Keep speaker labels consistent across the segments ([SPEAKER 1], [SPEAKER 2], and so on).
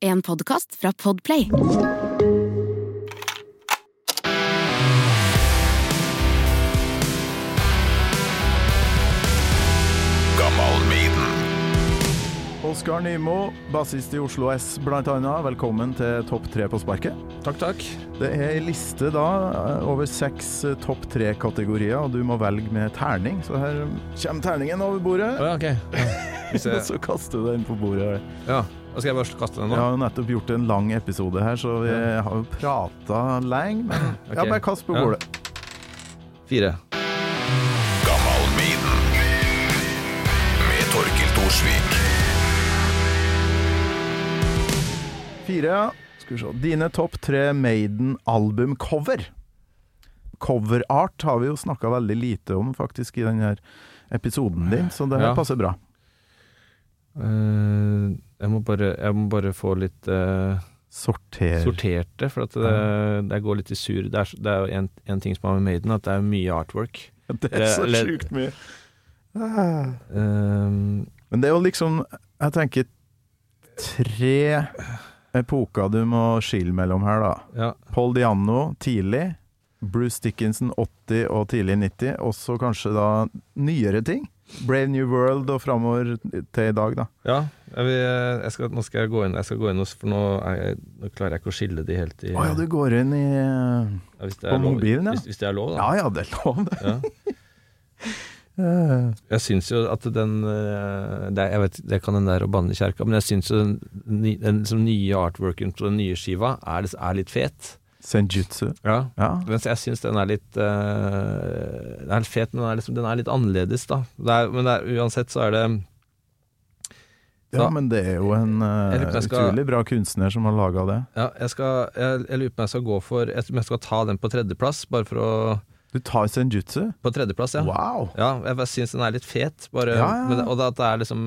[SPEAKER 1] En podkast fra Podplay.
[SPEAKER 2] Oskar Nymo, bassist i Oslo S bl.a. Velkommen til Topp tre på sparket.
[SPEAKER 3] Takk, takk.
[SPEAKER 2] Det er ei liste da over seks eh, topp tre-kategorier, og du må velge med terning. Så her kommer terningen over bordet,
[SPEAKER 3] Å, ja, ok. Ja. Hvis
[SPEAKER 2] og
[SPEAKER 3] jeg,
[SPEAKER 2] så kaster du den på bordet.
[SPEAKER 3] ja. Da skal jeg bare kaste den
[SPEAKER 2] Vi
[SPEAKER 3] nå?
[SPEAKER 2] har jo nettopp gjort en lang episode her, så vi har jo prata lenge. Men
[SPEAKER 3] Ok.
[SPEAKER 2] ja, bare kast på
[SPEAKER 3] Ja.
[SPEAKER 2] bordet.
[SPEAKER 3] Fire.
[SPEAKER 4] med Torkil Thorsvik.
[SPEAKER 2] Fire, ja. Skal vi se. Dine topp tre Maiden-albumcover. Coverart har vi jo snakka veldig lite om faktisk i denne episoden din, så det her
[SPEAKER 3] Ja.
[SPEAKER 2] passer bra.
[SPEAKER 3] Eh, jeg, må bare, jeg må bare få litt eh,
[SPEAKER 2] Sorter.
[SPEAKER 3] sortert det, for at det, det går litt i sur. Det er, så- det er jo en, en ting som er med Maiden, at det er mye artwork.
[SPEAKER 2] Det
[SPEAKER 3] er så Eller-
[SPEAKER 2] sjukt mye.
[SPEAKER 3] Eh,
[SPEAKER 2] Men det er jo liksom Jeg tenker tre epoker du må skille mellom her, da.
[SPEAKER 3] ja.
[SPEAKER 2] Paul Diano tidlig. Bruce Dickinson 80 og tidlig 90. Også kanskje da nyere ting. Brave New World og framover til i dag, da.
[SPEAKER 3] ja jeg vil, eh, jeg skal, nå skal jeg gå inn, jeg skal gå inn hos, for nå, er jeg, nå klarer jeg ikke å skille de helt i
[SPEAKER 2] Å ja, du går inn i
[SPEAKER 3] ja, hvis det
[SPEAKER 2] på
[SPEAKER 3] er lov,
[SPEAKER 2] mobilen, ja.
[SPEAKER 3] Hvis, hvis det er lov, da.
[SPEAKER 2] Ja ja, det er lov, det. Eh,
[SPEAKER 3] Ja. Jeg syns jo at den eh, det, er- Jeg vet, det kan den der å banne i kjerka, men jeg syns jo den, ny- den liksom nye artworken på den nye skiva er, er litt fet.
[SPEAKER 2] Senjutsu.
[SPEAKER 3] Ja.
[SPEAKER 2] Ja.
[SPEAKER 3] Men jeg syns den er litt eh, Den er litt fet, men den er, liksom, den er litt annerledes, da. Det er, men det er, uansett så er det
[SPEAKER 2] ja, men det er jo en eh,
[SPEAKER 3] Jeg lurer på om jeg skal-
[SPEAKER 2] utrolig bra kunstner som har laga det.
[SPEAKER 3] ja, jeg, skal, jeg, jeg lurer på om jeg skal gå for Jeg tror jeg skal ta den på tredjeplass, bare for å
[SPEAKER 2] Du tar senjutsu?
[SPEAKER 3] På tredjeplass, ja.
[SPEAKER 2] Wow!
[SPEAKER 3] Ja, jeg bare syns den er litt fet, bare.
[SPEAKER 2] Ja, ja, ja.
[SPEAKER 3] Men, og det, at det er liksom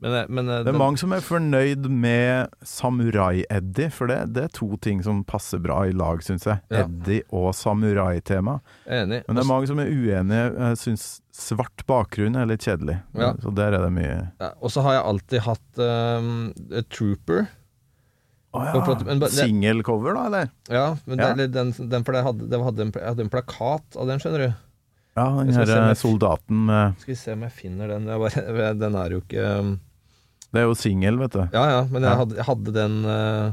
[SPEAKER 3] Men, men
[SPEAKER 2] Det
[SPEAKER 3] eh,
[SPEAKER 2] er
[SPEAKER 3] den-
[SPEAKER 2] mange som er fornøyd med Samurai-Eddie, for det, det er to ting som passer bra i lag, syns jeg.
[SPEAKER 3] Ja.
[SPEAKER 2] Eddie og samurai-tema.
[SPEAKER 3] jeg er enig.
[SPEAKER 2] Men det er mange som er uenige, eh, syns svart bakgrunn er litt kjedelig.
[SPEAKER 3] Ja.
[SPEAKER 2] Så der er det mye
[SPEAKER 3] Ja, og så har jeg alltid hatt ehm, eh, Trooper.
[SPEAKER 2] Å
[SPEAKER 3] Og for at- men
[SPEAKER 2] ja.
[SPEAKER 3] bare- det-
[SPEAKER 2] Singelcover, da, eller?
[SPEAKER 3] Ja, men
[SPEAKER 2] Ja.
[SPEAKER 3] det- eller Den, den, for jeg hadde, det hadde en, pla- jeg hadde en plakat av den, skjønner du.
[SPEAKER 2] Ja, den
[SPEAKER 3] Jeg skal se om
[SPEAKER 2] her eh,
[SPEAKER 3] jeg-
[SPEAKER 2] soldaten med
[SPEAKER 3] Skal vi se om jeg finner den. Jeg bare, den er jo ikke ehm,
[SPEAKER 2] Det er jo singel, vet du.
[SPEAKER 3] Ja ja, men
[SPEAKER 2] Ja.
[SPEAKER 3] jeg hadde, jeg hadde den eh,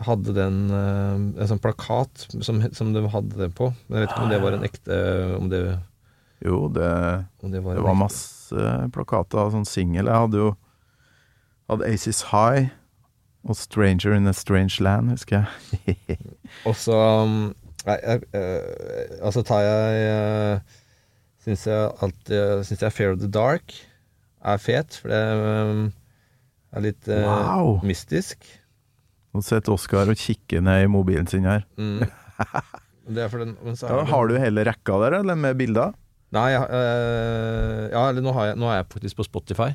[SPEAKER 3] Jeg hadde den eh, En sånn plakat som, som de hadde den på. Men jeg vet ikke om det var en ekte Om det,
[SPEAKER 2] Jo, det,
[SPEAKER 3] om det var
[SPEAKER 2] det
[SPEAKER 3] en
[SPEAKER 2] var
[SPEAKER 3] ekte-
[SPEAKER 2] masse plakater av sånn singel. Jeg hadde jo hadde Aces High og Stranger in a Strange Land, husker jeg.
[SPEAKER 3] Og så um, Nei, jeg, eh, altså tar jeg uh, Syns jeg alltid Syns jeg Fair of the Dark er fet, for det um, er litt eh,
[SPEAKER 2] Wow.
[SPEAKER 3] mystisk.
[SPEAKER 2] Nå sitter Oskar og kikker ned i mobilen sin her.
[SPEAKER 3] Mm. Det er for den, men så er
[SPEAKER 2] Ja,
[SPEAKER 3] det-
[SPEAKER 2] har du hele rekka der, eller med bilder?
[SPEAKER 3] Nei, jeg, eh, ja, eller nå, har jeg, nå er jeg faktisk på Spotify.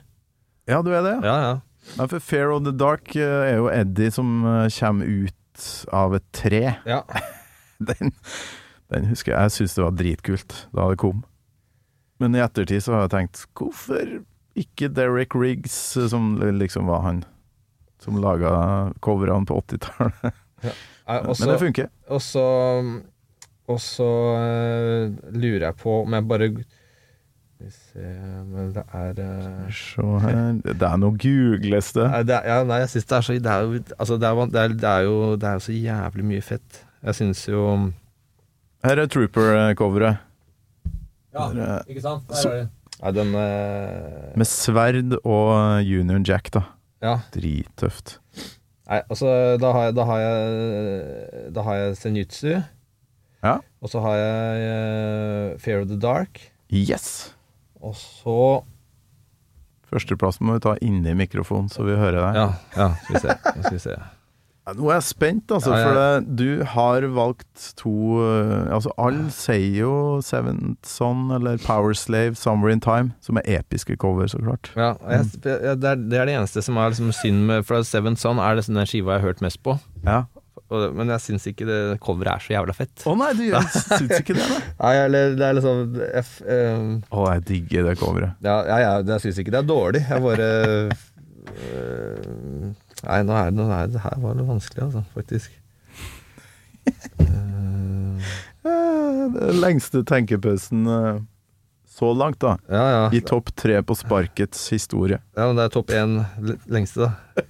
[SPEAKER 2] Ja, du er det? Ja.
[SPEAKER 3] Ja, ja.
[SPEAKER 2] Nei, for Fair of the Dark eh, er jo Eddie som eh, kommer ut av et tre.
[SPEAKER 3] ja.
[SPEAKER 2] Den, den husker jeg. Jeg syns det var dritkult da det kom. Men i ettertid så har jeg tenkt hvorfor ikke Derek Riggs, eh, som liksom var han som laga coverne på 80-tallet.
[SPEAKER 3] Nei, og
[SPEAKER 2] Men det
[SPEAKER 3] så-
[SPEAKER 2] funker.
[SPEAKER 3] Og så Og så eh, lurer jeg på om jeg bare Skal vi se Men det er eh,
[SPEAKER 2] Se her. Det er noe googles, det.
[SPEAKER 3] Nei, det er, ja, nei, jeg synes det er så Det er jo, altså, det er, van- det er, det er jo, det er jo så jævlig mye fett. Jeg synes jo
[SPEAKER 2] Her er Trooper-coveret.
[SPEAKER 3] Ja,
[SPEAKER 2] Der, eh,
[SPEAKER 3] ikke sant?
[SPEAKER 2] Der er så-
[SPEAKER 3] Nei, den eh,
[SPEAKER 2] Med sverd og eh, Union Jack, da.
[SPEAKER 3] Ja.
[SPEAKER 2] Drittøft.
[SPEAKER 3] Nei, altså, da har jeg Da har jeg, da har jeg Senjutsu.
[SPEAKER 2] Ja.
[SPEAKER 3] Og så har jeg eh, Fear of the Dark.
[SPEAKER 2] Yes!
[SPEAKER 3] Og så
[SPEAKER 2] Førsteplass må vi ta inni mikrofonen, så vi hører deg.
[SPEAKER 3] Ja, ja, skal vi se. Nå Skal vi se.
[SPEAKER 2] Ja, Nå er jeg spent, altså,
[SPEAKER 3] Ja, ja.
[SPEAKER 2] for det, du har valgt to eh, Altså, alle sier jo Seven Son eller Power Slave, Summer in Time, som er episke cover, så klart.
[SPEAKER 3] Ja, og jeg, jeg, det, er, det er det eneste som er liksom synd med For Seven Son er det sånn den skiva jeg har hørt mest på.
[SPEAKER 2] Ja.
[SPEAKER 3] Og, men jeg syns ikke det coveret er så jævla fett.
[SPEAKER 2] Å nei, du gjør- syns ikke det, da?
[SPEAKER 3] Nei, eller det er liksom jeg, f- eh,
[SPEAKER 2] Å, jeg digger det coveret.
[SPEAKER 3] Ja, ja, ja det- jeg syns ikke det er dårlig. Jeg bare øh, Nei, nå er det, nå er det, det her var det vanskelig, altså, faktisk. Eh,
[SPEAKER 2] Eh, Den lengste tenkepausen eh, så langt, da.
[SPEAKER 3] ja, ja.
[SPEAKER 2] I topp tre på sparkets historie.
[SPEAKER 3] Ja, men det er topp én l- lengste, da.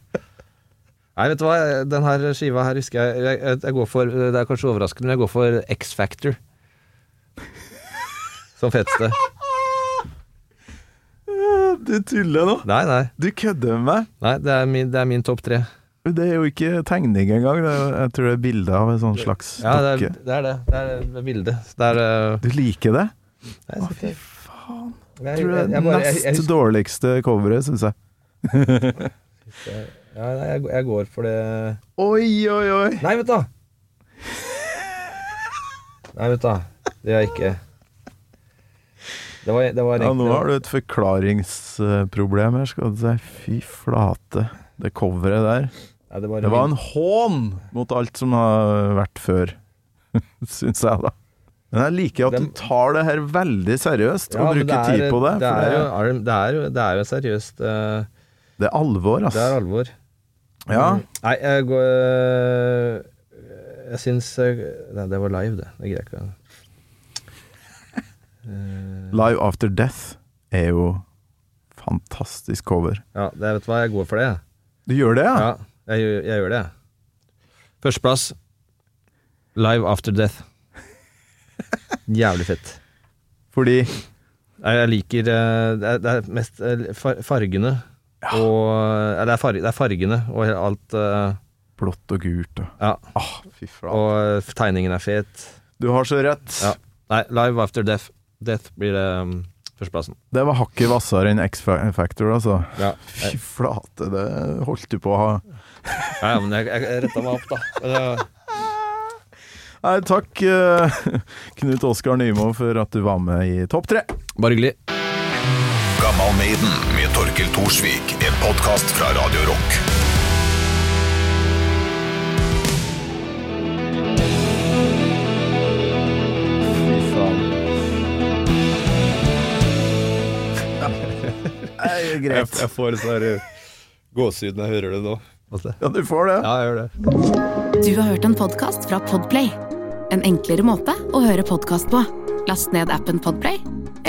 [SPEAKER 3] Nei, vet du hva, den her skiva her husker jeg Jeg, jeg, jeg går for, Det er kanskje overraskende, men jeg går for X-Factor. Som feteste.
[SPEAKER 2] Eh, Du tuller nå!
[SPEAKER 3] Nei, nei.
[SPEAKER 2] Du kødder med meg!
[SPEAKER 3] nei det er min, det er min topp tre.
[SPEAKER 2] Det er jo ikke tegning engang. Det er, jeg tror det er bilde av en sånn slags
[SPEAKER 3] Ja, det
[SPEAKER 2] dukke.
[SPEAKER 3] er, det er det. Det er det bildet. Det er eh,
[SPEAKER 2] Du liker det?
[SPEAKER 3] nei,
[SPEAKER 2] Å, fy
[SPEAKER 3] jeg-
[SPEAKER 2] faen.
[SPEAKER 3] jeg-
[SPEAKER 2] Jeg tror det er det
[SPEAKER 3] jeg bare- jeg-
[SPEAKER 2] nest
[SPEAKER 3] jeg husker-
[SPEAKER 2] dårligste coveret, syns jeg.
[SPEAKER 3] Ja, nei, jeg, jeg går for det
[SPEAKER 2] Oi, oi, oi!
[SPEAKER 3] Nei, vent da! Nei, vent da. Det er ikke Det var, det var
[SPEAKER 2] Ja, nå
[SPEAKER 3] egentlig-
[SPEAKER 2] har du et forklaringsproblem her, skal du si. Fy flate. Det coveret der.
[SPEAKER 3] Nei, det var,
[SPEAKER 2] Det var en hån mot alt som har vært før, syns jeg, da. Men jeg liker at du
[SPEAKER 3] Dem-
[SPEAKER 2] tar det her veldig seriøst
[SPEAKER 3] Ja,
[SPEAKER 2] og
[SPEAKER 3] men
[SPEAKER 2] bruker
[SPEAKER 3] er-
[SPEAKER 2] tid på det.
[SPEAKER 3] Det
[SPEAKER 2] for
[SPEAKER 3] er,
[SPEAKER 2] det,
[SPEAKER 3] jo, er, det er jo det er jo seriøst eh,
[SPEAKER 2] det er alvor, ass.
[SPEAKER 3] Det er alvor.
[SPEAKER 2] ja.
[SPEAKER 3] Nei, jeg går Jeg syns eh, Nei, det var live, det. Det greier jeg ikke.
[SPEAKER 2] Live After Death er jo fantastisk cover.
[SPEAKER 3] Ja, det, vet du hva, jeg går for det. jeg.
[SPEAKER 2] Du gjør det, ja?
[SPEAKER 3] Ja, jeg, gjør- jeg gjør det. jeg. Førsteplass Live After Death. Jævlig fett.
[SPEAKER 2] Fordi
[SPEAKER 3] Jeg, jeg liker eh, Det er, det er mest eh, far- fargene og ja, det, er farg- det er fargene og he- alt eh,
[SPEAKER 2] blått og gult og
[SPEAKER 3] Ja.
[SPEAKER 2] ah, Fy flate.
[SPEAKER 3] Og eh, tegningen er fet.
[SPEAKER 2] Du har så rett.
[SPEAKER 3] Ja. Nei, Live After Death. Death blir det um, førsteplassen.
[SPEAKER 2] Det var hakket hvassere enn X Factor, altså.
[SPEAKER 3] Ja.
[SPEAKER 2] Fy flate, det holdt du på å ha.
[SPEAKER 3] ja, men jeg, jeg retta meg opp, da. Men, eh,
[SPEAKER 2] Nei, takk, eh, Knut Oskar Nymo, for at du var med i Topp tre.
[SPEAKER 3] uh, Bare hyggelig.
[SPEAKER 4] Gammal Maiden med Torkel Thorsvik. En podkast fra Radio Rock.
[SPEAKER 2] Greit.
[SPEAKER 3] får litt sånn gåsehud når jeg hører det nå.
[SPEAKER 2] Ja, du får det.
[SPEAKER 3] Ja, jeg gjør det.
[SPEAKER 1] Du har hørt en podcast fra Podplay. En enklere måte å høre podcast på. Last ned appen Podplay,